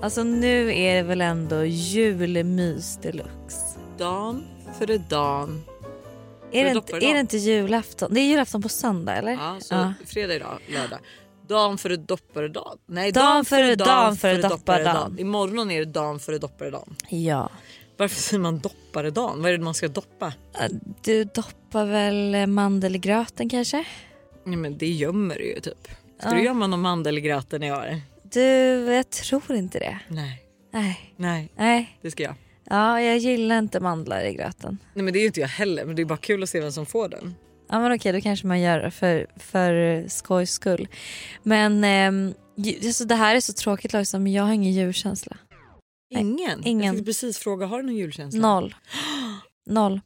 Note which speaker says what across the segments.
Speaker 1: Alltså nu är det väl ändå julmys deluxe?
Speaker 2: Dan före dan.
Speaker 1: Är det,
Speaker 2: det
Speaker 1: inte,
Speaker 2: doppar idag?
Speaker 1: är det inte julafton? Det är julafton på söndag eller?
Speaker 2: Ja, så
Speaker 1: Ja.
Speaker 2: fredag idag, lördag. Dan före dopparedan. Nej,
Speaker 1: Dan före dan före
Speaker 2: dopparedan.
Speaker 1: dopparedan.
Speaker 2: Imorgon är det dan före dopparedan.
Speaker 1: ja.
Speaker 2: Varför säger man dopparedan? Vad är det man ska doppa?
Speaker 1: Du doppar väl eh, mandelgröten kanske?
Speaker 2: Nej, men det gömmer du ju typ. Ska
Speaker 1: Ja.
Speaker 2: du gömma någon mandelgraten i år?
Speaker 1: Du, jag tror inte det.
Speaker 2: Nej,
Speaker 1: Nej.
Speaker 2: nej,
Speaker 1: Nej.
Speaker 2: det ska jag.
Speaker 1: Ja, jag gillar inte mandlar i gröten.
Speaker 2: Nej, men det är ju inte jag heller, men det är bara kul att se vem som får den.
Speaker 1: Ja men okej då kanske man gör det för, för skojs skull. Men ehm, ju- alltså, det här är så tråkigt Lojsan men jag har ingen djurkänsla.
Speaker 2: Ingen?
Speaker 1: ingen.
Speaker 2: Jag fick precis fråga, har du någon julkänsla?
Speaker 1: Noll. Noll.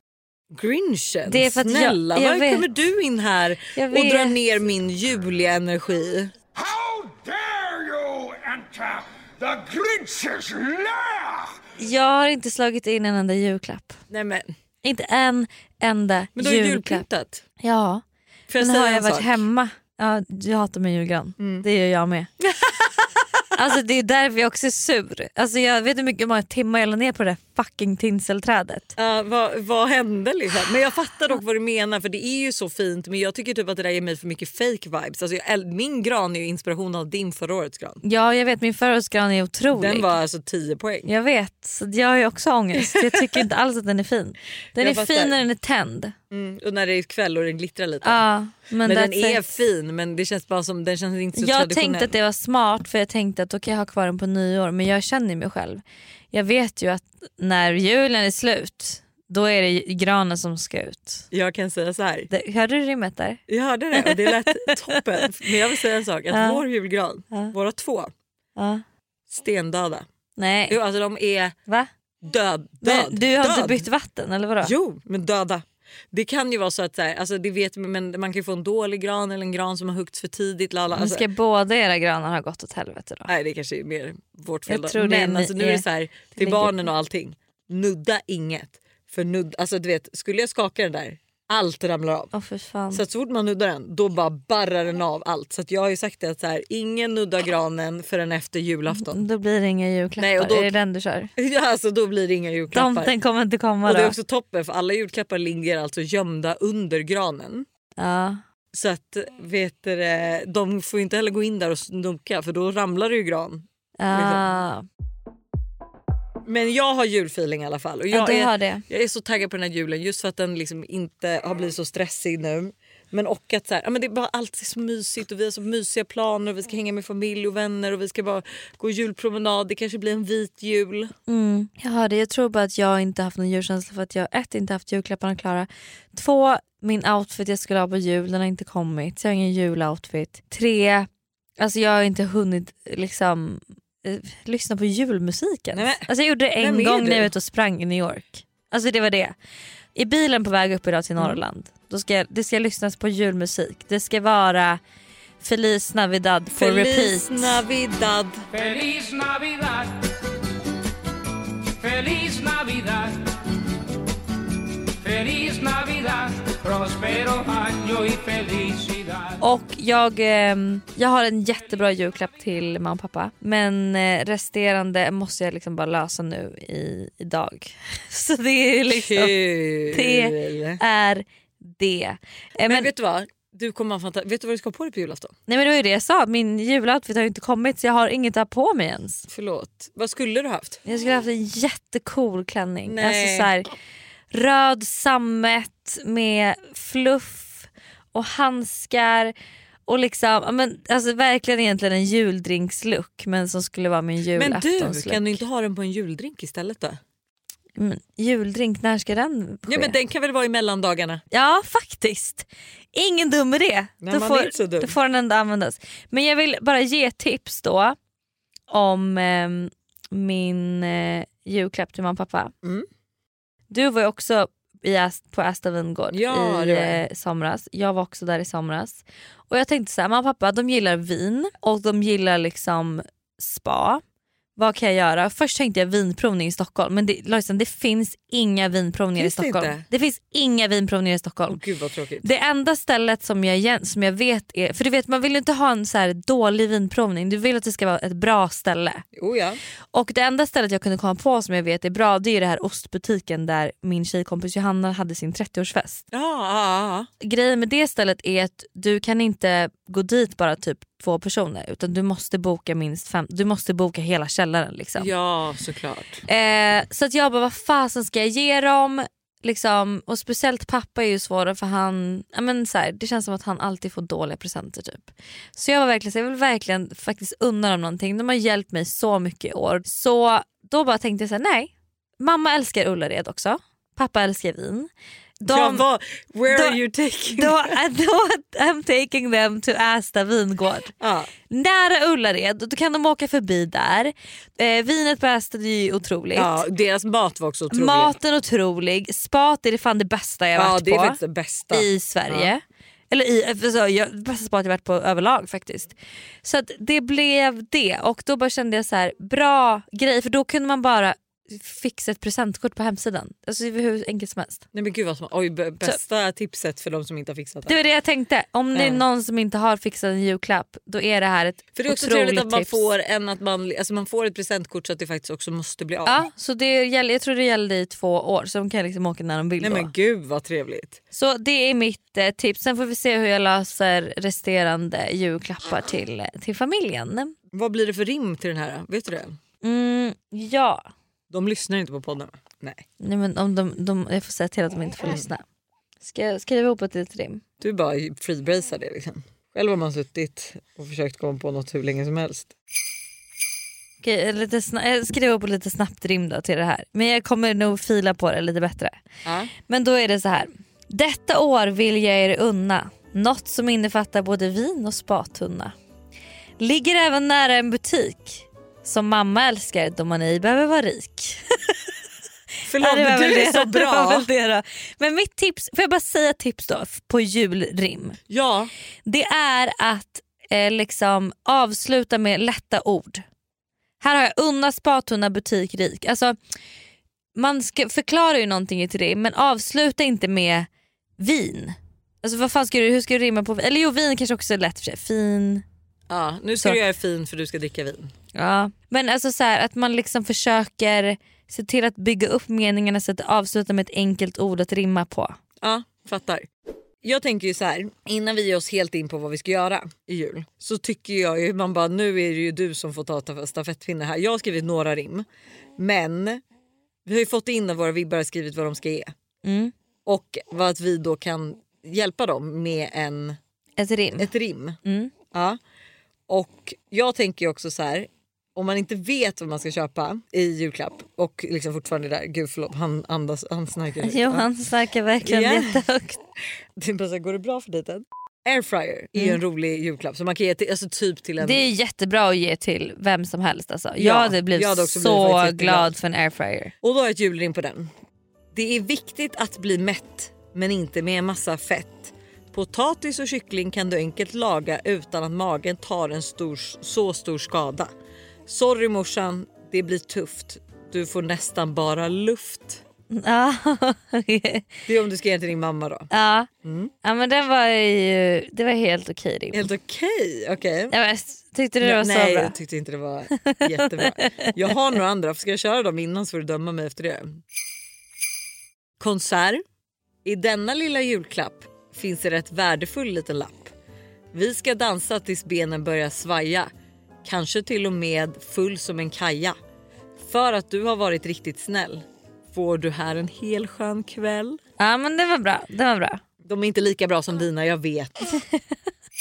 Speaker 2: Grinchen,
Speaker 1: Det är för att jag-
Speaker 2: snälla.
Speaker 1: jag
Speaker 2: Varför
Speaker 1: vet.
Speaker 2: kommer du in här
Speaker 1: Jag
Speaker 2: och drar
Speaker 1: vet.
Speaker 2: ner min juliga energi?
Speaker 3: How dare you enter the Grinch's lair?
Speaker 1: Jag har inte slagit in en enda julklapp.
Speaker 2: Nej, men,
Speaker 1: Inte en enda
Speaker 2: men du har ju
Speaker 1: julklapp.
Speaker 2: julpyntat.
Speaker 1: Ja.
Speaker 2: Får jag
Speaker 1: Men
Speaker 2: säga
Speaker 1: har jag
Speaker 2: en
Speaker 1: varit
Speaker 2: sak? Mm.
Speaker 1: hemma. Ja, jag hatar min julgran. Det gör jag med. alltså det är därför jag också är sur. Alltså, jag vet hur mycket många timmar jag la ner på det där fucking tinselträdet.
Speaker 2: Ja, vad, vad hände liksom? Men jag fattar dock vad du menar för det är ju så fint men jag tycker typ att det där ger mig för mycket fake vibes. Alltså, jag, äl- min gran är ju inspiration av din förra årets gran.
Speaker 1: Ja jag vet min förrådsgran är otrolig.
Speaker 2: Den var alltså 10 poäng.
Speaker 1: Jag vet, så jag har ju också ångest. Jag tycker inte alls att den är fin. Den
Speaker 2: Jag
Speaker 1: är
Speaker 2: fattar.
Speaker 1: fin när den är tänd.
Speaker 2: Mm, och när det är kväll och den glittrar lite.
Speaker 1: Ja, men
Speaker 2: men den
Speaker 1: that's
Speaker 2: är
Speaker 1: it.
Speaker 2: fin men det känns bara som den känns inte så
Speaker 1: jag
Speaker 2: traditionell.
Speaker 1: tänkte att det var smart för jag tänkte att okej jag har kvar den på nyår men jag känner ju mig själv. Jag vet ju att när julen är slut då är det ju granen som ska ut.
Speaker 2: Jag kan säga så här.
Speaker 1: Det, hörde du rimmet där?
Speaker 2: Jag hörde det och det lät toppen. Men jag vill säga en sak. Att
Speaker 1: Ja.
Speaker 2: vår julgran,
Speaker 1: Ja.
Speaker 2: våra två,
Speaker 1: Ja.
Speaker 2: stendöda.
Speaker 1: Nej,
Speaker 2: Jo, Alltså de är
Speaker 1: va?
Speaker 2: död. död
Speaker 1: Men, du har
Speaker 2: död.
Speaker 1: inte bytt vatten eller vadå?
Speaker 2: Jo, men döda. Det kan ju vara så att så här, alltså det vet, men man kan ju få en dålig gran eller en gran som har huggits för tidigt. Lala.
Speaker 1: Nu
Speaker 2: Alltså,
Speaker 1: ska båda era granar ha gått åt helvete då.
Speaker 2: Nej, det kanske är mer vårt fel.
Speaker 1: Jag
Speaker 2: då.
Speaker 1: tror det är
Speaker 2: men
Speaker 1: ni-
Speaker 2: alltså, nu är
Speaker 1: är-
Speaker 2: det så här, till
Speaker 1: ligger-
Speaker 2: barnen och allting. Nudda inget. För nudd, alltså, du vet, skulle jag skaka den där, allt ramlar av.
Speaker 1: Åh för fan.
Speaker 2: Så att så fort man nuddar den, då bara barrar den av allt. Så att jag har ju sagt det att så här, ingen nuddar granen förrän efter julafton.
Speaker 1: Då blir det inga julklappar.
Speaker 2: Nej, och då-
Speaker 1: Är det den du kör?
Speaker 2: Ja, alltså, då blir det inga
Speaker 1: De,
Speaker 2: julklappar.
Speaker 1: den kommer inte komma
Speaker 2: och
Speaker 1: då.
Speaker 2: det är också toppen för alla julklappar ligger alltså gömda under granen.
Speaker 1: Ja.
Speaker 2: Så att vet du, det, de får ju inte heller gå in där och snoka för då ramlar det ju gran.
Speaker 1: Ah,
Speaker 2: Men jag har julfeeling i alla fall. Och
Speaker 1: ja,
Speaker 2: jag,
Speaker 1: du har
Speaker 2: är,
Speaker 1: det.
Speaker 2: jag är så taggad på den här julen just för att den liksom inte har blivit så stressig nu. Men och att så här, ja, men det är bara allt är så mysigt och vi har så mysiga planer och vi ska hänga med familj och vänner och vi ska bara gå julpromenad. Det kanske blir en vit jul.
Speaker 1: Mm, jag har det. Jag tror bara att jag inte haft någon julkänsla för att jag ett inte haft julklapparna klara. Två, min outfit jag skulle ha på jul den har inte kommit. Så jag har ingen juloutfit. Tre, alltså jag har inte hunnit liksom eh, lyssna på julmusiken.
Speaker 2: Nej, men-
Speaker 1: alltså jag gjorde det
Speaker 2: Vem
Speaker 1: en
Speaker 2: är
Speaker 1: gång när
Speaker 2: du?
Speaker 1: jag var ute och sprang i New York. Alltså det var det. I bilen på väg upp idag
Speaker 2: Mm.
Speaker 1: till Norrland. Då ska jag, det ska lyssnas på julmusik. Det ska vara Feliz Navidad for
Speaker 2: Feliz
Speaker 1: repeat.
Speaker 2: Navidad.
Speaker 4: Feliz Navidad. Feliz Navidad. Feliz Navidad. Prospero año y felicidad.
Speaker 1: Och jag, ehm, jag har en jättebra julklapp till mamma och pappa. Men eh, resterande måste jag liksom bara lösa nu i, idag. Så det är liksom...
Speaker 2: Kul!
Speaker 1: Det- Är det. Eh, men,
Speaker 2: Men vet du vad? Du kommer ha fanta- Vet du vad du ska ha på dig på julafton?
Speaker 1: nej, men det var ju det jag sa, min juloutfit har ju inte kommit så jag har inget att ha på mig ens.
Speaker 2: Förlåt. Vad skulle du haft?
Speaker 1: Jag skulle haft en jättecool klänning.
Speaker 2: Nej.
Speaker 1: Alltså så här, röd sammet med fluff och handskar. Och liksom, ja, men, alltså verkligen egentligen en juldrinkslook men som skulle vara min
Speaker 2: Men du,
Speaker 1: julaftonslook.
Speaker 2: kan du inte ha den på en juldrink istället då?
Speaker 1: Men juldrink, när ska den ske?
Speaker 2: Ja, men den kan väl vara i mellandagarna?
Speaker 1: Ja, faktiskt. Ingen dum idé.
Speaker 2: Nej,
Speaker 1: då,
Speaker 2: man är inte så
Speaker 1: får,
Speaker 2: dum.
Speaker 1: då får den ändå användas. Men jag vill bara ge tips då om ehm, min eh, julklapp till mamma och pappa.
Speaker 2: Mm.
Speaker 1: Du var ju också i, Ast- på Asta vingård
Speaker 2: Ja,
Speaker 1: i
Speaker 2: det var jag.
Speaker 1: eh, somras. Jag var också där i somras. Och jag tänkte så här, mamma och pappa de gillar vin och de gillar liksom spa. vad kan jag göra? Först tänkte jag vinprovning i Stockholm men det, Lojsan, det finns inga vinprovningar
Speaker 2: Finns
Speaker 1: i
Speaker 2: det
Speaker 1: Stockholm.
Speaker 2: inte?
Speaker 1: Det finns inga vinprovningar i
Speaker 2: Åh,
Speaker 1: Stockholm.
Speaker 2: gud vad tråkigt.
Speaker 1: Det enda stället som jag, igen- som jag vet är, för du vet man vill ju inte ha en så här dålig vinprovning, du vill att det ska vara ett bra ställe.
Speaker 2: Oh, ja.
Speaker 1: Och det enda stället jag kunde komma på som jag vet är bra det är ju det här ostbutiken där min tjejkompis Johanna hade sin 30-årsfest.
Speaker 2: Ja, ja,
Speaker 1: Grejen med det stället är att du kan inte gå dit bara typ två personer utan du måste boka minst fem, du måste boka hela källaren liksom.
Speaker 2: ja. ja, såklart.
Speaker 1: Eh, så att jag bara, vad fasen ska jag ge dem? Liksom, och speciellt pappa är ju svårare för han, ja, men så här, det känns som att han alltid får dåliga presenter typ. Så jag var verkligen så här, jag vill verkligen faktiskt unna dem någonting. De har hjälpt mig så mycket i år. Så då bara tänkte jag så här, nej. Mamma älskar Ullared också. Pappa älskar vin. De,
Speaker 2: ja, vad, where
Speaker 1: de-
Speaker 2: are you taking
Speaker 1: då, då, I'm taking them to Asta vingård.
Speaker 2: Ja.
Speaker 1: Nära Ullared, då kan de åka förbi där. Eh, vinet på Asta det är ju otroligt.
Speaker 2: Ja, deras mat var också otrolig.
Speaker 1: Maten otrolig, spat är det fan det bästa jag
Speaker 2: ja,
Speaker 1: varit
Speaker 2: det är
Speaker 1: på
Speaker 2: faktiskt det bästa.
Speaker 1: i Sverige. Eller i, alltså, jag, det bästa spat jag varit på överlag faktiskt. Så att det blev det och då bara kände jag så här bra grej för då kunde man bara fixa ett presentkort på hemsidan. Alltså det var hur enkelt som helst.
Speaker 2: Nej, men gud vad som, oj, b- bästa tipset för de som inte har fixat det.
Speaker 1: Det var det jag tänkte. Om det är
Speaker 2: Ja.
Speaker 1: någon som inte har fixat en julklapp då är det här ett
Speaker 2: För det är också
Speaker 1: otroligt
Speaker 2: trevligt att man
Speaker 1: tips.
Speaker 2: får, en, att man, alltså man får ett presentkort så att det faktiskt också måste bli av.
Speaker 1: Ja, så det gäller, jag tror det gällde i två år så de kan liksom åka när de vill
Speaker 2: Nej
Speaker 1: då.
Speaker 2: men gud vad trevligt.
Speaker 1: Så det är mitt eh, tips. Sen får vi se hur jag löser resterande julklappar till, eh, till familjen.
Speaker 2: Vad blir det för rim till den här? Vet du det?
Speaker 1: Mm, ja,
Speaker 2: De lyssnar inte på podden. Nej.
Speaker 1: Nej, men om de, de, jag får säga till att de inte får lyssna. Ska jag skriva ihop ett litet rim?
Speaker 2: Du bara freebracear det liksom. Själv har man suttit och försökt komma på något hur länge som helst.
Speaker 1: Okej, lite sna- jag skriver upp ett lite snabbt rim då till det här. Men jag kommer nog fila på det lite bättre.
Speaker 2: Ja.
Speaker 1: Men då är det så här. Detta år vill jag er unna något som innefattar både vin och spatunna. Ligger även nära en butik som mamma älskar då man ej behöver vara rik.
Speaker 2: Förlåt
Speaker 1: Ja,
Speaker 2: men
Speaker 1: var väl
Speaker 2: du är så
Speaker 1: Det var
Speaker 2: bra.
Speaker 1: väl det då. Men mitt tips, får jag bara säga tips då f- på julrim.
Speaker 2: Ja.
Speaker 1: Det är att eh, liksom avsluta med lätta ord. Här har jag unna spatunna butik rik. Alltså, man ska, förklarar ju någonting i ett rim men avsluta inte med vin. Alltså vad fan ska du, hur ska du rimma på vin? Eller jo vin kanske också är lätt för sig. Fin.
Speaker 2: ja. Nu ska
Speaker 1: Så.
Speaker 2: du göra fin för du ska dricka vin.
Speaker 1: Ja. Men alltså så här, att man liksom försöker se till att bygga upp meningarna så att det avslutar med ett enkelt ord att rimma på.
Speaker 2: Ja, fattar. Jag tänker ju så här, innan vi ger oss helt in på vad vi ska göra i jul så tycker jag ju man bara nu är det ju du som får ta ta stafettpinnen här. Jag har skrivit några rim men vi har ju fått in att våra vibbar har skrivit vad de ska ge
Speaker 1: Mm.
Speaker 2: och vad att vi då kan hjälpa dem med en,
Speaker 1: Ett rim.
Speaker 2: ett rim.
Speaker 1: Mm.
Speaker 2: Ja. Och jag tänker ju också så här. Om man inte vet vad man ska köpa i julklapp och liksom fortfarande är där, gud förlåt han andas, han snarkar. nu.
Speaker 1: Jo, han snackar verkligen
Speaker 2: Ja.
Speaker 1: jättehögt.
Speaker 2: Det är bara så här, går det bra för dejten? Airfryer är ju en rolig julklapp som man kan ge till, alltså typ till en...
Speaker 1: Mm. Det är jättebra att ge till vem som helst. Alltså. Jag
Speaker 2: Ja,
Speaker 1: hade blivit
Speaker 2: jag hade också blivit
Speaker 1: så
Speaker 2: faktiskt
Speaker 1: glad
Speaker 2: jätteglad.
Speaker 1: för en airfryer.
Speaker 2: Och då har jag ett julrim på den. Det är viktigt att bli mätt men inte med en massa fett. Potatis och kyckling kan du enkelt laga utan att magen tar en stor, så stor skada. Sorry morsan, det blir tufft. Du får nästan bara luft.
Speaker 1: Ja.
Speaker 2: Det är om du ska ge till din mamma då.
Speaker 1: ja. ja men den var ju, det var helt okej rim.
Speaker 2: Mm. Helt okej. okej.
Speaker 1: Ja, men, tyckte du det var så
Speaker 2: Nej,
Speaker 1: bra?
Speaker 2: jag tyckte inte det var jättebra. Jag har några andra. Ska jag köra dem innan så får du döma mig efter det. Konsert. I denna lilla julklapp finns en rätt värdefull liten lapp. Vi ska dansa tills benen börjar svaja. Kanske till och med full som en kaja. För att du har varit riktigt snäll får du här en hel skön kväll.
Speaker 1: Ja men det var bra. Det var bra.
Speaker 2: De är inte lika bra
Speaker 1: Mm.
Speaker 2: som dina, jag vet.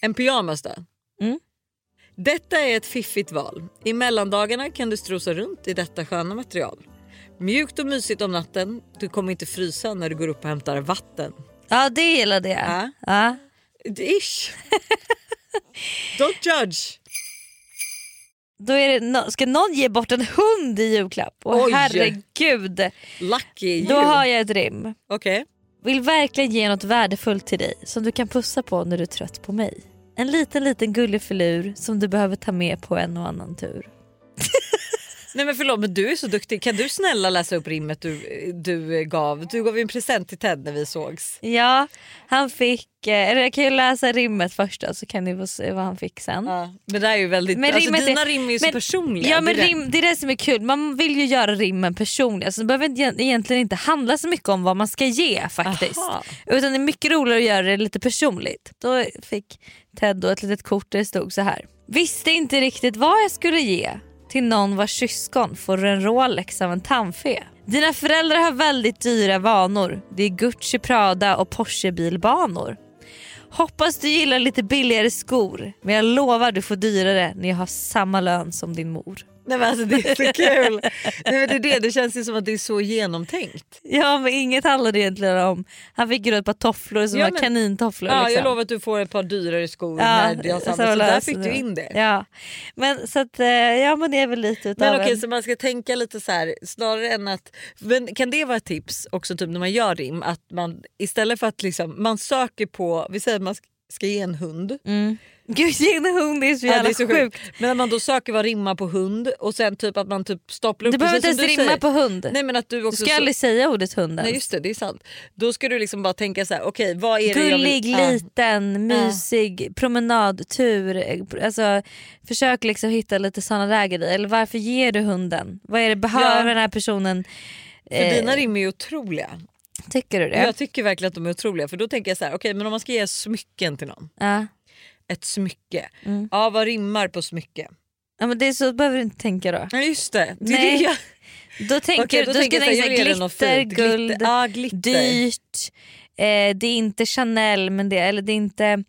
Speaker 2: En pyjamas då?
Speaker 1: Mm.
Speaker 2: Detta är ett fiffigt val. I mellandagarna kan du strosa runt i detta sköna material. Mjukt och mysigt om natten. Du kommer inte frysa när du går upp och hämtar vatten.
Speaker 1: Ja det gillade jag.
Speaker 2: Ja.
Speaker 1: Ja.
Speaker 2: Ish. Don't judge.
Speaker 1: Då är det no- ska någon ge bort en hund i julklapp? Och
Speaker 2: Oj.
Speaker 1: herregud,
Speaker 2: Lucky you.
Speaker 1: då har jag ett rim.
Speaker 2: Okej.
Speaker 1: Vill verkligen ge något värdefullt till dig som du kan pussa på när du är trött på mig. En liten liten gullig filur som du behöver ta med på en och annan tur.
Speaker 2: Nej men förlåt men du är så duktig. Kan du snälla läsa upp rimmet du, du eh, gav? Du gav ju en present till Ted när vi sågs.
Speaker 1: Ja, han fick... eh, eller Jag kan ju läsa rimmet först då, så kan ni få se vad han fick sen.
Speaker 2: Ja. Men det här är ju väldigt,
Speaker 1: Men
Speaker 2: alltså,
Speaker 1: rimmet är-
Speaker 2: dina rim är ju så
Speaker 1: men-
Speaker 2: personliga.
Speaker 1: Ja, men
Speaker 2: Det är
Speaker 1: rim, det är det som är kul. Man vill ju göra rimmen personliga. Alltså, det behöver inte- egentligen inte handla så mycket om vad man ska ge faktiskt.
Speaker 2: Aha.
Speaker 1: Utan det är mycket roligare att göra det lite personligt. Då fick Ted då ett litet kort där det stod så här. Visste inte riktigt vad jag skulle ge. Till någon vars syskon får du en Rolex av en tandfe. Dina föräldrar har väldigt dyra vanor. Det är Gucci, Prada och Porsche-bilbanor. Hoppas du gillar lite billigare skor men jag lovar du får dyrare när jag har samma lön som din mor.
Speaker 2: Nej, men alltså, det är så kul. Nej, men det, är det. det känns ju som att det är så genomtänkt.
Speaker 1: Ja men inget handlade egentligen om. Han fick ju då ett par tofflor som
Speaker 2: Ja,
Speaker 1: var
Speaker 2: men-
Speaker 1: kanintofflor.
Speaker 2: Ja,
Speaker 1: liksom.
Speaker 2: jag lovar att du får ett par dyrare skor
Speaker 1: Ja,
Speaker 2: när jag har samma.
Speaker 1: samma
Speaker 2: Så där
Speaker 1: lön
Speaker 2: fick
Speaker 1: som
Speaker 2: du
Speaker 1: jag.
Speaker 2: in det.
Speaker 1: Ja. Men, så att, eh, ja, men det är väl lite utav
Speaker 2: Men okej,
Speaker 1: en-
Speaker 2: så man ska tänka lite så här snarare än att... Men kan det vara ett tips också typ när man gör rim att man istället för att liksom, man söker på, vi säger att man ska ge en hund.
Speaker 1: Gud ge en hund det är så
Speaker 2: Ja,
Speaker 1: jävla
Speaker 2: det är så
Speaker 1: sjukt.
Speaker 2: Mm, sjukt. Men när man då söker vad rimmar på hund och sen typ att man typ stopplar upp
Speaker 1: Du behöver inte
Speaker 2: precis
Speaker 1: ens
Speaker 2: som
Speaker 1: rimma
Speaker 2: säger.
Speaker 1: på hund.
Speaker 2: Nej men att du
Speaker 1: du
Speaker 2: också...
Speaker 1: ska aldrig säga ordet hunden.
Speaker 2: Nej just det, det är sant. Då ska du liksom bara tänka så här, okej vad är det jag vill...
Speaker 1: Gullig,
Speaker 2: Ja.
Speaker 1: liten, mysig, promenadtur. eh, Alltså, försök liksom hitta lite såna där grejer. Eller varför ger du hunden? Vad är det behöver
Speaker 2: Ja.
Speaker 1: den här personen? eh,
Speaker 2: För dina rim är ju otroliga.
Speaker 1: Tycker du
Speaker 2: Och
Speaker 1: det?
Speaker 2: Jag tycker verkligen att de är otroliga för då tänker jag så här, okej men om man ska ge smycken till någon,
Speaker 1: Ja.
Speaker 2: ett smycke,
Speaker 1: Mm.
Speaker 2: ja vad rimmar på smycke?
Speaker 1: Ja, men det är så behöver du inte tänka då.
Speaker 2: Ja just det, det är
Speaker 1: Nej.
Speaker 2: det jag...
Speaker 1: Då tänker
Speaker 2: Okej,
Speaker 1: du, då ska
Speaker 2: tänker
Speaker 1: du tänka
Speaker 2: jag
Speaker 1: såhär,
Speaker 2: jag ger dig något
Speaker 1: glitter,
Speaker 2: fint. Glitter-
Speaker 1: guld,
Speaker 2: ja, glitter.
Speaker 1: dyrt. Eh, det är inte Chanel men det, eller det är inte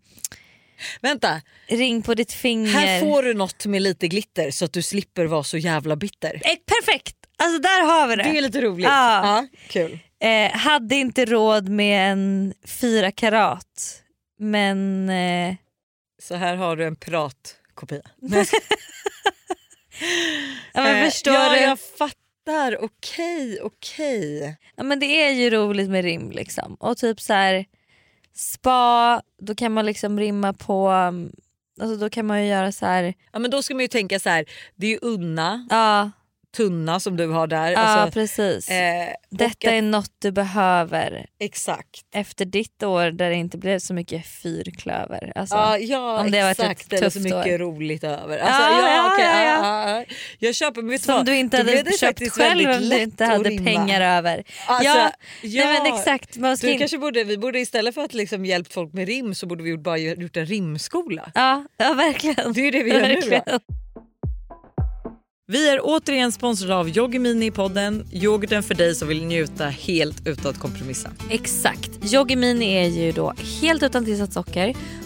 Speaker 2: Vänta,
Speaker 1: ring på ditt finger.
Speaker 2: här får du något med lite glitter så att du slipper vara så jävla bitter.
Speaker 1: Eh, perfekt! Alltså där har vi det.
Speaker 2: Det är lite roligt.
Speaker 1: Ja.
Speaker 2: Ja, kul.
Speaker 1: Eh, hade inte råd med en fyra karat men eh,
Speaker 2: Så här har du en pratkopia.
Speaker 1: ja, men
Speaker 2: Eh,
Speaker 1: förstår
Speaker 2: ja,
Speaker 1: du?
Speaker 2: jag fattar. Okej, okej.
Speaker 1: Ja, men det är ju roligt med rim liksom. Och typ så här spa, då kan man liksom rimma på, um, alltså då kan man ju göra så här,
Speaker 2: Ja, men då ska man ju tänka så här, det är ju unna,
Speaker 1: ja,
Speaker 2: tunna som du har där.
Speaker 1: ja
Speaker 2: Alltså,
Speaker 1: precis.
Speaker 2: eh, och
Speaker 1: Detta
Speaker 2: att-
Speaker 1: är något du behöver
Speaker 2: Exakt.
Speaker 1: efter ditt år där det inte blev så mycket fyrklöver. Alltså,
Speaker 2: Ja, ja
Speaker 1: om det har varit ett
Speaker 2: exakt. Eller så
Speaker 1: tufft
Speaker 2: mycket
Speaker 1: år.
Speaker 2: roligt över. Alltså,
Speaker 1: Ja, ja,
Speaker 2: okej,
Speaker 1: ja,
Speaker 2: Jag köper, men vet
Speaker 1: som
Speaker 2: vad?
Speaker 1: du inte
Speaker 2: Då
Speaker 1: hade
Speaker 2: blev det
Speaker 1: köpt
Speaker 2: faktiskt
Speaker 1: själv
Speaker 2: väldigt
Speaker 1: om du
Speaker 2: lätt
Speaker 1: inte
Speaker 2: att
Speaker 1: hade
Speaker 2: rimma.
Speaker 1: pengar över.
Speaker 2: Alltså,
Speaker 1: ja,
Speaker 2: ja.
Speaker 1: Nej, men exakt. Man ska
Speaker 2: Du
Speaker 1: in...
Speaker 2: kanske borde, vi borde istället för att liksom hjälpt folk med rim så borde vi gjort- bara gjort en rimskola.
Speaker 1: ja, ja, verkligen.
Speaker 2: Det är ju det vi gör nu.
Speaker 1: Verkligen.
Speaker 2: Då. Vi är återigen sponsrade av Yoggi Mini i podden. Yoghurten för dig som vill njuta helt utan att kompromissa.
Speaker 1: Exakt. Yoggi Mini är ju då helt utan tillsatt socker,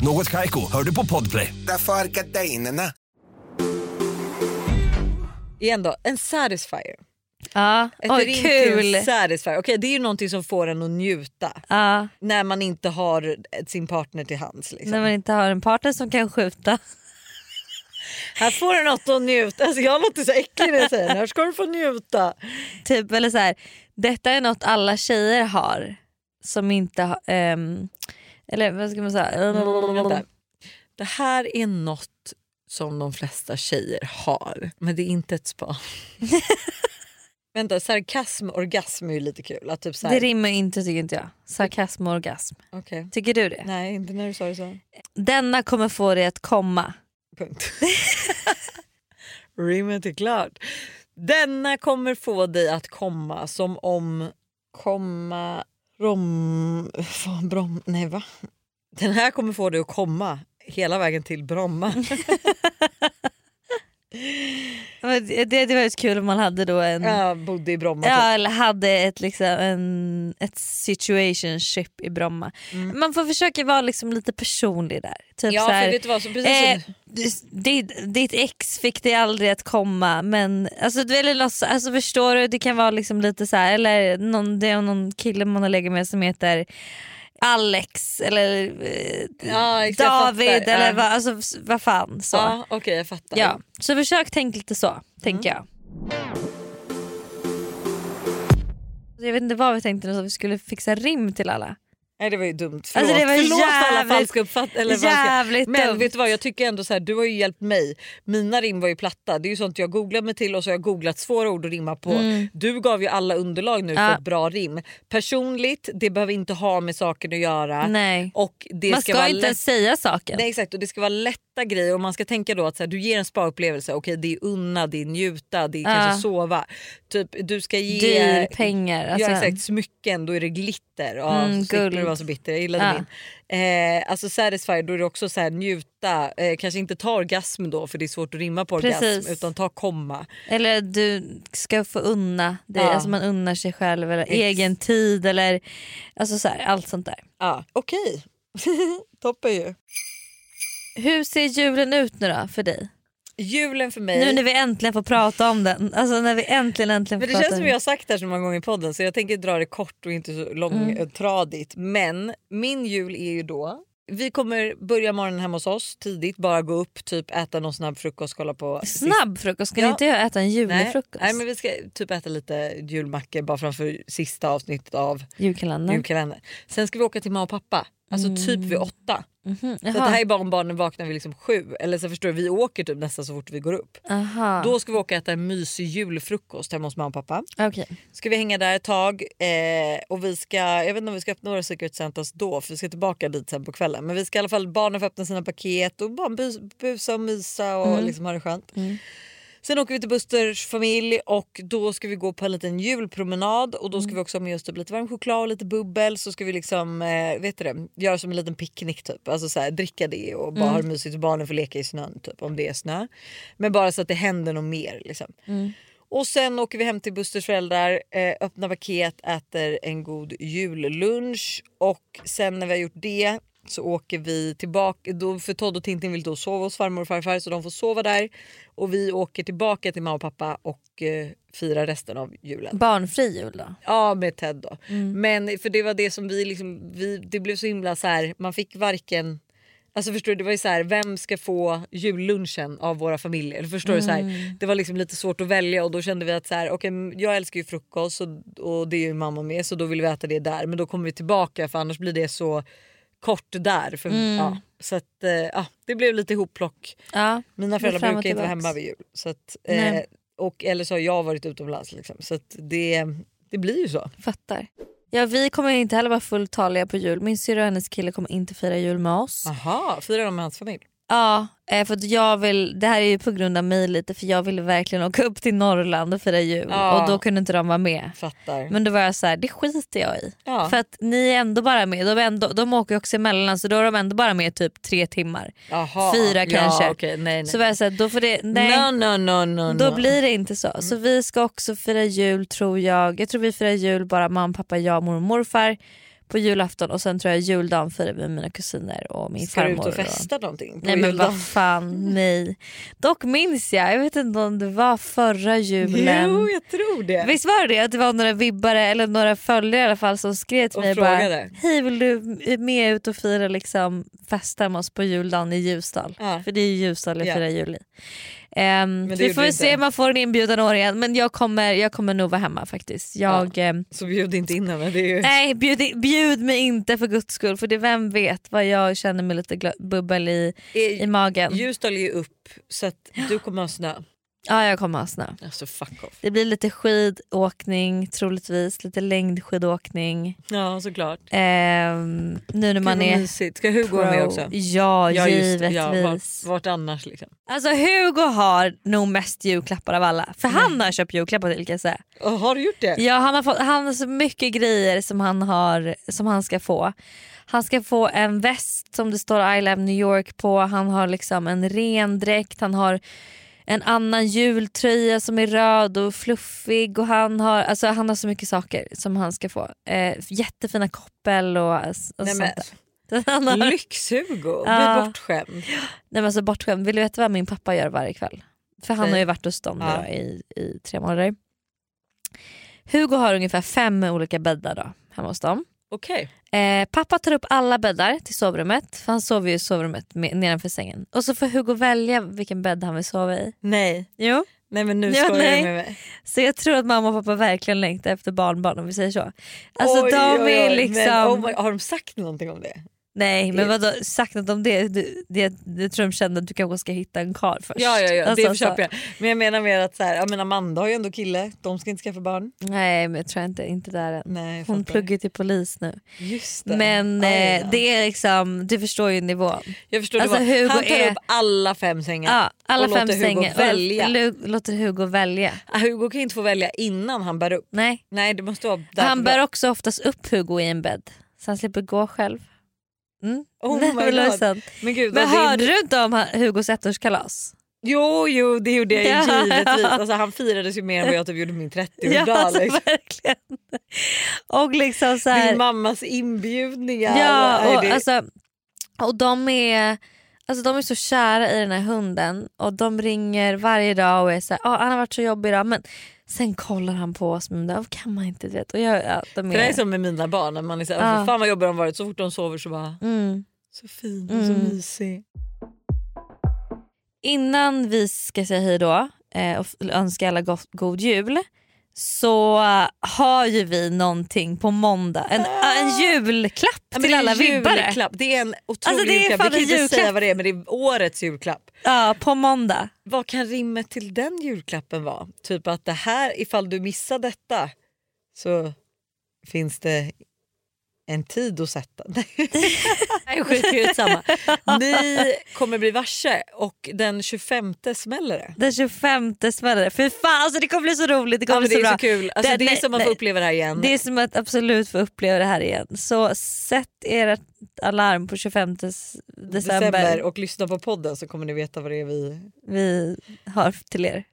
Speaker 5: Något Kaiko, hör du på Podplay.
Speaker 6: Därför är gardinerna.
Speaker 2: Igen då, en satisfier.
Speaker 1: Ja,
Speaker 2: Ett
Speaker 1: oj
Speaker 2: ring
Speaker 1: kul!
Speaker 2: till en satisfier. Okej det är ju någonting som får en att njuta
Speaker 1: Ja,
Speaker 2: när man inte har sin partner till hands. Liksom.
Speaker 1: när man inte har en partner som kan skjuta.
Speaker 2: Här får du något att njuta. Alltså, jag låter så äcklig när jag säger det. Här ska du få njuta.
Speaker 1: Typ, eller så här, detta är något alla tjejer har som inte har... ehm, eller vad ska man säga?
Speaker 2: Vänta. Det här är något som de flesta tjejer har, men det är inte ett spa. Vänta, sarkasm och orgasm är ju lite kul. Att typ så
Speaker 1: Det
Speaker 2: här,
Speaker 1: rimmar inte tycker inte jag. Sarkasm och orgasm.
Speaker 2: Okej.
Speaker 1: Tycker du det?
Speaker 2: Nej, inte när du sa det så.
Speaker 1: Denna kommer få dig att komma.
Speaker 2: Punkt. Rimmet är klart. Denna kommer få dig att komma som om... Komma... Rom... Fan, brom... Nej, va? Den här kommer få dig att komma hela vägen till Bromma.
Speaker 1: Men Det, det det var ju kul om man hade då en... Ja.
Speaker 2: Jag bodde i Bromma.
Speaker 1: eller hade ett, liksom, en, ett situationship i Bromma. Man får försöka vara liksom lite personlig där. Typ
Speaker 2: Mm. Ja,
Speaker 1: så här,
Speaker 2: för vet du vad? Så precis som-
Speaker 1: Eh, ditt, ditt ex fick dig aldrig att komma men alltså, du, eller något, så- alltså förstår du det kan vara liksom lite så här eller någon, det är någon kille man har legat med som heter Alex eller eh,
Speaker 2: Ja, exakt, jag
Speaker 1: David
Speaker 2: fattar.
Speaker 1: eller
Speaker 2: Ja.
Speaker 1: vad alltså, s- vad fan så. Ja.
Speaker 2: Ja, okej jag fattar. Mm.
Speaker 1: Så försök tänk lite så tänker jag. Alltså, Jag vet inte vad vi tänkte nu, så vi skulle fixa rim till alla.
Speaker 2: Nej det var ju dumt. Förlåt,
Speaker 1: Alltså, det var
Speaker 2: Förlåt för alla
Speaker 1: jävligt-
Speaker 2: falska uppfattningar.
Speaker 1: jävligt
Speaker 2: Men
Speaker 1: dumt.
Speaker 2: vet du vad jag tycker ändå så här, du har ju hjälpt mig. Mina rim var ju platta. Det är ju sånt jag googlar mig till och så har jag googlat svåra ord att rimma på. Du gav ju alla underlag nu
Speaker 1: Mm. Ja.
Speaker 2: för ett bra rim. Personligt, det behöver inte ha med saken att göra.
Speaker 1: Nej.
Speaker 2: Och det
Speaker 1: Man
Speaker 2: ska,
Speaker 1: ska
Speaker 2: vara
Speaker 1: inte
Speaker 2: lätt
Speaker 1: ens säga saken.
Speaker 2: Nej exakt och det ska vara lätta grejer och man ska tänka då att så här, du ger en spa-upplevelse, okej det är unna, det är njuta, det är
Speaker 1: Ja.
Speaker 2: kanske sova. Typ du ska ge...
Speaker 1: Dyr pengar, alltså.
Speaker 2: Ja exakt, smycken då är det glitter. Ja,
Speaker 1: Mm,
Speaker 2: så slipper
Speaker 1: guld.
Speaker 2: du vara så bitter, jag gillade
Speaker 1: Ja.
Speaker 2: min. Eh, alltså satisfied då är det också så här njuta, eh, kanske inte ta orgasm då för det är svårt att rimma på orgasm
Speaker 1: Precis.
Speaker 2: utan ta komma.
Speaker 1: Eller du ska få unna dig,
Speaker 2: Ja.
Speaker 1: alltså man unnar sig själv eller egen tid eller alltså så här, allt sånt där.
Speaker 2: Ja, Okej, toppen ju.
Speaker 1: Hur ser julen ut nu då för dig?
Speaker 2: Julen för mig.
Speaker 1: Nu när vi äntligen får prata om den. Alltså när vi äntligen äntligen får
Speaker 2: Eh.
Speaker 1: prata
Speaker 2: Men det känns som
Speaker 1: om
Speaker 2: jag har sagt det här så många gånger i podden så jag tänker dra det kort och inte så
Speaker 1: Mm.
Speaker 2: långtradigt. Men min jul är ju då... Vi kommer börja morgonen hemma hos oss tidigt, bara gå upp, typ äta någon snabb frukost, kolla på...
Speaker 1: Snabb frukost, ska ni
Speaker 2: Ja.
Speaker 1: inte jag äta en
Speaker 2: Nej,
Speaker 1: julfrukost?
Speaker 2: nej, men vi ska typ äta lite julmackor bara framför sista avsnittet av
Speaker 1: Julkalendern.
Speaker 2: julkalendern. Sen ska vi åka till mamma och pappa, alltså typ vid åtta.
Speaker 1: Mhm,
Speaker 2: Så att det
Speaker 1: Mm. Jaha.
Speaker 2: här är bara om barnen vaknar vid liksom sju. Eller så förstår du, vi åker typ nästan så fort vi går upp.
Speaker 1: Aha.
Speaker 2: Då ska vi åka och äta en mysig julfrukost hemma hos mamma och pappa.
Speaker 1: Okej.
Speaker 2: ska vi hänga där ett tag eh, och vi ska, jag vet inte om vi ska öppna våra Secret Santas då för vi ska tillbaka dit sen på kvällen. Men vi ska i alla fall, barnen får öppna sina paket och bara bus, busa och mysa och liksom ha det skönt. Sen åker vi till Busters familj och då ska vi gå på en liten julpromenad och då ska vi också ha med oss typ lite varm choklad och lite bubbel så ska vi liksom, eh, vet du det, göra som en liten picknick typ. Alltså så här, dricka det och bara ha det mysigt och barnen får leka i snön typ om det är snö. Men bara så att det händer något mer liksom. Och sen åker vi hem till Busters föräldrar, eh, öppnar paket, äter en god jullunch och sen när vi har gjort det så åker vi tillbaka, då, för Todd och Tintin vill då sova hos farmor och farfar så de får sova där och vi åker tillbaka till mamma och pappa och eh, firar resten av julen.
Speaker 1: Barnfri jul då?
Speaker 2: Ja med Ted då.
Speaker 1: Mm.
Speaker 2: Men för det var det som vi liksom, vi, det blev så himla så här, man fick varken Alltså förstår du, det var ju så här, vem ska få jullunchen av våra familjer? Eller Förstår du, så
Speaker 1: Mm.
Speaker 2: här, det var liksom lite svårt att välja och då kände vi att så här, okay, jag älskar ju frukost och, och det är ju mamma med så då vill vi äta det där men då kommer vi tillbaka för annars blir det så kort där. För,
Speaker 1: Mm.
Speaker 2: ja, så att, eh, ja, det blev lite hopplock.
Speaker 1: Ja.
Speaker 2: Mina
Speaker 1: Det är
Speaker 2: föräldrar
Speaker 1: fram och
Speaker 2: brukar inte vara
Speaker 1: tillbaks.
Speaker 2: hemma vid jul. Så att, eh,
Speaker 1: Nej.
Speaker 2: och, eller så har jag varit utomlands liksom, så att det, det blir ju så.
Speaker 1: Fattar. Ja, vi kommer inte heller vara fulltaliga på jul. Min syrra och hennes kille kommer inte fira jul med oss.
Speaker 2: Aha, firar de med hans familj?
Speaker 1: Ja, eh, för att jag vill, det här är ju på grund av mig lite för jag ville verkligen åka upp till Norrland och fira jul
Speaker 2: Ja.
Speaker 1: och då kunde inte de vara med.
Speaker 2: Fattar.
Speaker 1: Men då var jag så här, det skiter jag i.
Speaker 2: Mm. Ja.
Speaker 1: För att ni är ändå bara med, de, är ändå, de åker ju också emellan så då är de ändå bara med typ tre timmar.
Speaker 2: Aha,
Speaker 1: Fyra
Speaker 2: ja,
Speaker 1: kanske.
Speaker 2: okej, nej, nej.
Speaker 1: Så var jag så här, då får det, nej.
Speaker 2: No, no, no, no,
Speaker 1: Då
Speaker 2: no.
Speaker 1: blir det inte så.
Speaker 2: Mm.
Speaker 1: Så vi ska också fira jul tror jag. Jag tror vi firar jul bara mamma, pappa, jag, mormor och morfar på julafton och sen tror jag juldagen firar vi med mina kusiner och min
Speaker 2: Ska du
Speaker 1: farmor.
Speaker 2: ut och festa någonting på
Speaker 1: Nej men
Speaker 2: juldagen?
Speaker 1: vad fan, nej. Dock minns jag, jag vet inte om det var förra julen.
Speaker 2: Jo, jag tror det.
Speaker 1: Visst var det det? att det var några vibbare eller några följare i alla fall som skrev till
Speaker 2: Och
Speaker 1: mig och
Speaker 2: frågade.
Speaker 1: bara Hej vill du med ut och fira liksom festa med oss på juldagen i Ljusdal?
Speaker 2: Ja.
Speaker 1: För det är ju Ljusdal jag
Speaker 2: Ja.
Speaker 1: firar jul i. Ehm,
Speaker 2: det
Speaker 1: vi
Speaker 2: gjorde
Speaker 1: får
Speaker 2: du
Speaker 1: väl
Speaker 2: inte.
Speaker 1: se om man får en inbjudan i år igen men jag kommer, jag kommer nog vara hemma faktiskt. Jag, ehm,
Speaker 2: Så bjud inte in henne. Det är ju...
Speaker 1: nej bjud, i- bjud mig inte för guds skull för det vem vet vad jag känner mig lite gla- bubbel i, i
Speaker 2: Eh,
Speaker 1: magen.
Speaker 2: Ljusdal är ju upp så att du kommer ha snö.
Speaker 1: Ja jag kommer ha snö.
Speaker 2: Alltså fuck off.
Speaker 1: Det blir lite skidåkning troligtvis, lite längdskidåkning.
Speaker 2: Ja såklart.
Speaker 1: Ehm, nu när man
Speaker 2: Gud, vad
Speaker 1: är
Speaker 2: mysigt. Ska Hugo vara med också?
Speaker 1: Ja,
Speaker 2: just det.
Speaker 1: givetvis.
Speaker 2: Ja, vart, vart annars liksom?
Speaker 1: Alltså Hugo har nog mest julklappar av alla. För
Speaker 2: Mm.
Speaker 1: han har köpt julklappar till kan jag säga.
Speaker 2: Och har du gjort det?
Speaker 1: Ja, han, har fått, han har så mycket grejer som han, har, som han ska få. Han ska få en väst som det står I love New York på. Han har liksom en rendräkt. Han har en annan jultröja som är röd och fluffig. Och han, har, alltså, han har så mycket saker som han ska få. Eh, jättefina koppel och, och
Speaker 2: Nej,
Speaker 1: sånt
Speaker 2: men,
Speaker 1: där. Han
Speaker 2: Mm.
Speaker 1: har-
Speaker 2: Lyx-Hugo,
Speaker 1: Ja.
Speaker 2: bli bortskämd.
Speaker 1: Nej men alltså bortskämd. Vill du veta vad min pappa gör varje kväll? För han
Speaker 2: Säg.
Speaker 1: har ju varit hos dem nu
Speaker 2: Ja.
Speaker 1: då, i, i tre månader. Hugo har ungefär fem olika bäddar då, hemma hos dem.
Speaker 2: Okej.
Speaker 1: Eh, pappa tar upp alla bäddar till sovrummet, för han sover ju i sovrummet med, nedanför sängen. Och så får Hugo välja vilken bädd han vill sova i.
Speaker 2: Nej.
Speaker 1: Jo.
Speaker 2: nej men nu
Speaker 1: Ja,
Speaker 2: skojar
Speaker 1: nej.
Speaker 2: du med mig.
Speaker 1: Så jag tror att mamma och pappa verkligen längtar efter barnbarn om vi säger så. Alltså
Speaker 2: Oj,
Speaker 1: de
Speaker 2: oj,
Speaker 1: är
Speaker 2: oj,
Speaker 1: liksom...
Speaker 2: Men, oh my, har de sagt någonting om det?
Speaker 1: Nej men vadå, sagt något om det? Du- det- Jag tror de kände att du kanske ska hitta en karl först.
Speaker 2: Ja, ja, ja
Speaker 1: Alltså,
Speaker 2: det köper jag. Men jag menar mer att så här, jag menar, Amanda har ju ändå kille, de ska inte skaffa barn.
Speaker 1: Nej men jag tror inte, inte där än.
Speaker 2: Nej, jag
Speaker 1: Hon
Speaker 2: fattar.
Speaker 1: pluggar till polis nu.
Speaker 2: Just det.
Speaker 1: Men
Speaker 2: Ja, ja,
Speaker 1: eh,
Speaker 2: ja.
Speaker 1: det är liksom, du förstår ju nivån.
Speaker 2: jag förstår
Speaker 1: alltså,
Speaker 2: det var,
Speaker 1: Hugo
Speaker 2: han tar
Speaker 1: är-
Speaker 2: upp alla fem sängar
Speaker 1: Ja, alla
Speaker 2: och
Speaker 1: fem
Speaker 2: låter
Speaker 1: sängar.
Speaker 2: Hugo välja.
Speaker 1: Och lu- låter Hugo välja.
Speaker 2: Ah, Hugo kan ju inte få välja innan han bär upp.
Speaker 1: Nej.
Speaker 2: Nej det måste vara därför
Speaker 1: Han bär
Speaker 2: bra.
Speaker 1: också oftast upp Hugo i en bädd så han slipper gå själv. Mm.
Speaker 2: Oh
Speaker 1: Nej,
Speaker 2: my
Speaker 1: men
Speaker 2: God.
Speaker 1: Lojsan.
Speaker 2: Men gud
Speaker 1: Men
Speaker 2: vad
Speaker 1: hörde
Speaker 2: din...
Speaker 1: du inte om han- Hugos ettårskalas?
Speaker 2: Jo jo det gjorde jag ju
Speaker 1: Ja.
Speaker 2: givetvis. Alltså, han firades ju mer än vad jag typ gjorde min 30-årsdag.
Speaker 1: Ja, alltså,
Speaker 2: liksom.
Speaker 1: verkligen. Och liksom så här,
Speaker 2: Din mammas inbjudningar.
Speaker 1: Ja,
Speaker 2: Nej,
Speaker 1: och,
Speaker 2: det...
Speaker 1: alltså, och de är Alltså de är så kära i den här hunden och de ringer varje dag och är såhär, ah han har varit så jobbig idag men sen kollar han på oss men det kan man inte du vet. Och jag, ja, de
Speaker 2: För det är
Speaker 1: är,
Speaker 2: som med mina barn, när man är såhär,
Speaker 1: Ja.
Speaker 2: fan vad jobbiga de varit. Så fort de sover så bara,
Speaker 1: mm.
Speaker 2: så fin och så
Speaker 1: Mm.
Speaker 2: mysig.
Speaker 1: Innan vi ska säga hej då eh, och f- önska alla gott, god jul så har ju vi någonting på måndag, en, en julklapp
Speaker 2: Ah. Ja, men
Speaker 1: till
Speaker 2: det är
Speaker 1: alla
Speaker 2: en
Speaker 1: vibbare.
Speaker 2: julklapp. Det är en otrolig
Speaker 1: Alltså, det är
Speaker 2: julklapp. Vi
Speaker 1: fan
Speaker 2: kan
Speaker 1: en
Speaker 2: inte säga
Speaker 1: julklapp.
Speaker 2: vad det är men det är årets julklapp.
Speaker 1: Ja, på måndag.
Speaker 2: Vad kan rimmet till den julklappen vara? Typ att det här, ifall du missar detta så finns det en tid att sätta. Nej, skit samma. Ni kommer bli varse och den 25 smäller det.
Speaker 1: Den 25 smäller det. Fy fan alltså det kommer bli så roligt. Det kommer
Speaker 2: Ja, men
Speaker 1: bli så
Speaker 2: det är
Speaker 1: bra.
Speaker 2: så kul. Alltså, det,
Speaker 1: Det-
Speaker 2: är som att
Speaker 1: nej,
Speaker 2: få
Speaker 1: nej.
Speaker 2: uppleva det här igen.
Speaker 1: Det är som att absolut få uppleva det här igen. Så sätt ert alarm på 25 des- december,
Speaker 2: december och lyssna på podden så kommer ni veta vad det är vi...
Speaker 1: vi har till er.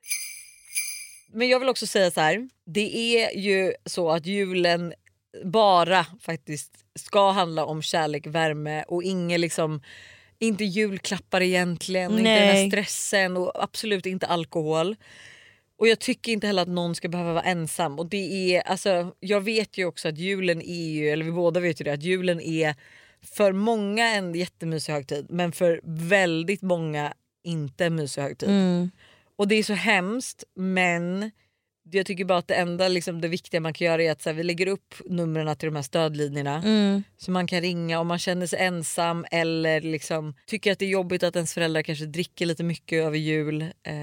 Speaker 2: Men jag vill också säga så här. Det är ju så att julen bara faktiskt ska handla om kärlek, värme och ingen liksom inte julklappar egentligen, inte den här
Speaker 1: Nej.
Speaker 2: stressen och absolut inte alkohol. Och jag tycker inte heller att någon ska behöva vara ensam. Och det är, alltså, jag vet ju också att julen är ju, eller vi båda vet ju det, att julen är för många en jättemysig högtid men för väldigt många inte en mysig högtid. Och det är så hemskt men jag tycker bara att det enda liksom, det viktiga man kan göra är att så här, vi lägger upp numren till de här stödlinjerna så man kan ringa om man känner sig ensam eller liksom, tycker att det är jobbigt att ens föräldrar kanske dricker lite mycket över jul. Eh,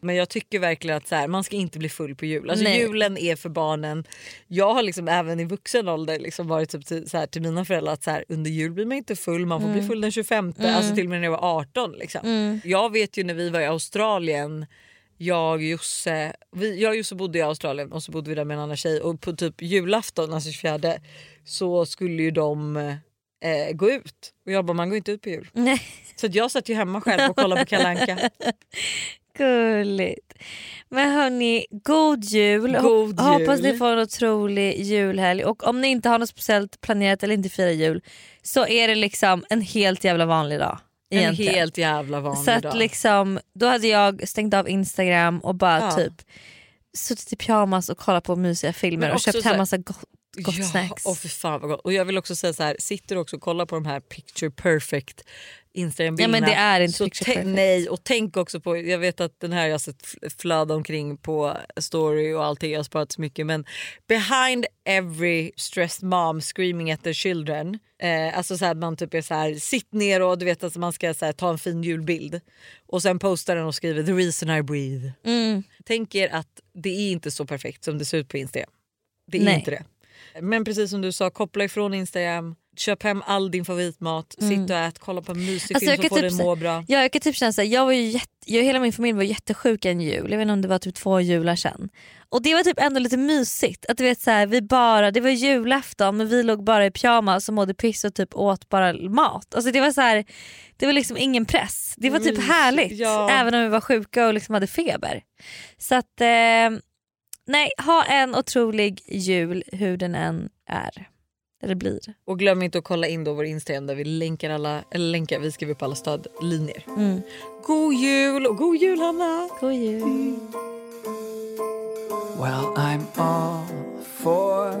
Speaker 2: Men jag tycker verkligen att så här, man ska inte bli full på jul. Alltså,
Speaker 1: Nej.
Speaker 2: julen är för barnen. Jag har liksom, även i vuxen ålder liksom, varit typ till, så här, till mina föräldrar att så här, under jul blir man inte full, man får
Speaker 1: Mm.
Speaker 2: bli full den 25. Alltså, till och med när jag var 18. Liksom. Jag vet ju när vi var i Australien jag, Josse, vi, jag och Josse bodde i Australien och så bodde vi där med en annan tjej och på typ julafton, alltså 24 så skulle ju de eh, gå ut och jag bara man går inte ut på jul.
Speaker 1: Nej.
Speaker 2: Så att jag satt ju hemma själv och kollade på Kalle Anka.
Speaker 1: Gulligt. Men hörni, god jul.
Speaker 2: God
Speaker 1: Hop- Hoppas
Speaker 2: jul.
Speaker 1: ni får en otrolig julhelg. Och om ni inte har något speciellt planerat eller inte firar jul så är det liksom en helt jävla vanlig dag.
Speaker 2: En
Speaker 1: Egentligen.
Speaker 2: helt jävla vanlig
Speaker 1: Så att
Speaker 2: dag.
Speaker 1: liksom, då hade jag stängt av Instagram och bara
Speaker 2: Ja.
Speaker 1: typ suttit i pyjamas och kollat på mysiga filmer
Speaker 2: Men
Speaker 1: och
Speaker 2: också
Speaker 1: köpt
Speaker 2: så här-
Speaker 1: hem massa gott, gott
Speaker 2: ja,
Speaker 1: snacks.
Speaker 2: Och för fan vad gott. Och jag vill också säga så här, sitter du också och kollar på de här picture perfect Instagram-bilderna.
Speaker 1: Ja, men det är inte
Speaker 2: så
Speaker 1: picture
Speaker 2: tänk-
Speaker 1: perfect.
Speaker 2: Nej och tänk också på, jag vet att den här jag har sett fl- flöda omkring på story och allting, jag har sparat så mycket men behind every stressed mom screaming at their children Eh, alltså så här, att man typ är så här, sitt ner och du vet att alltså man ska så här, ta en fin julbild och sen postar den och skriver the reason I breathe.
Speaker 1: Mm.
Speaker 2: Tänk er att det är inte så perfekt som det ser ut på Instagram. Det är
Speaker 1: Nej.
Speaker 2: inte det. Men precis som du sa, koppla ifrån Instagram. Köp hem all din favoritmat, sitt och ät, kolla på en mysig
Speaker 1: Mm. Alltså, jag
Speaker 2: film som
Speaker 1: kan
Speaker 2: får dig
Speaker 1: typ
Speaker 2: att
Speaker 1: se-
Speaker 2: må bra.
Speaker 1: Ja, jag kan typ känna såhär, jag var ju jätte, jag, hela min familj var jättesjuk en jul, jag vet inte om det var typ två jular sedan. Och det var typ ändå lite mysigt, att du vet såhär, vi bara, det var julafton men vi låg bara i pyjamas och mådde piss och typ åt bara mat. Alltså det var så här, det var liksom ingen press, det var typ
Speaker 2: Mysigt,
Speaker 1: härligt
Speaker 2: Mm, ja.
Speaker 1: även om vi var sjuka och liksom hade feber. Så att eh, nej, ha en otrolig jul hur den än är. Eller blir.
Speaker 2: Och glöm inte att kolla in då vår Instagram där vi länkar alla, eller länkar, vi skriver upp alla stödlinjer.
Speaker 1: Mm.
Speaker 2: God jul och god jul Hanna!
Speaker 1: God jul.
Speaker 7: Well, I'm all for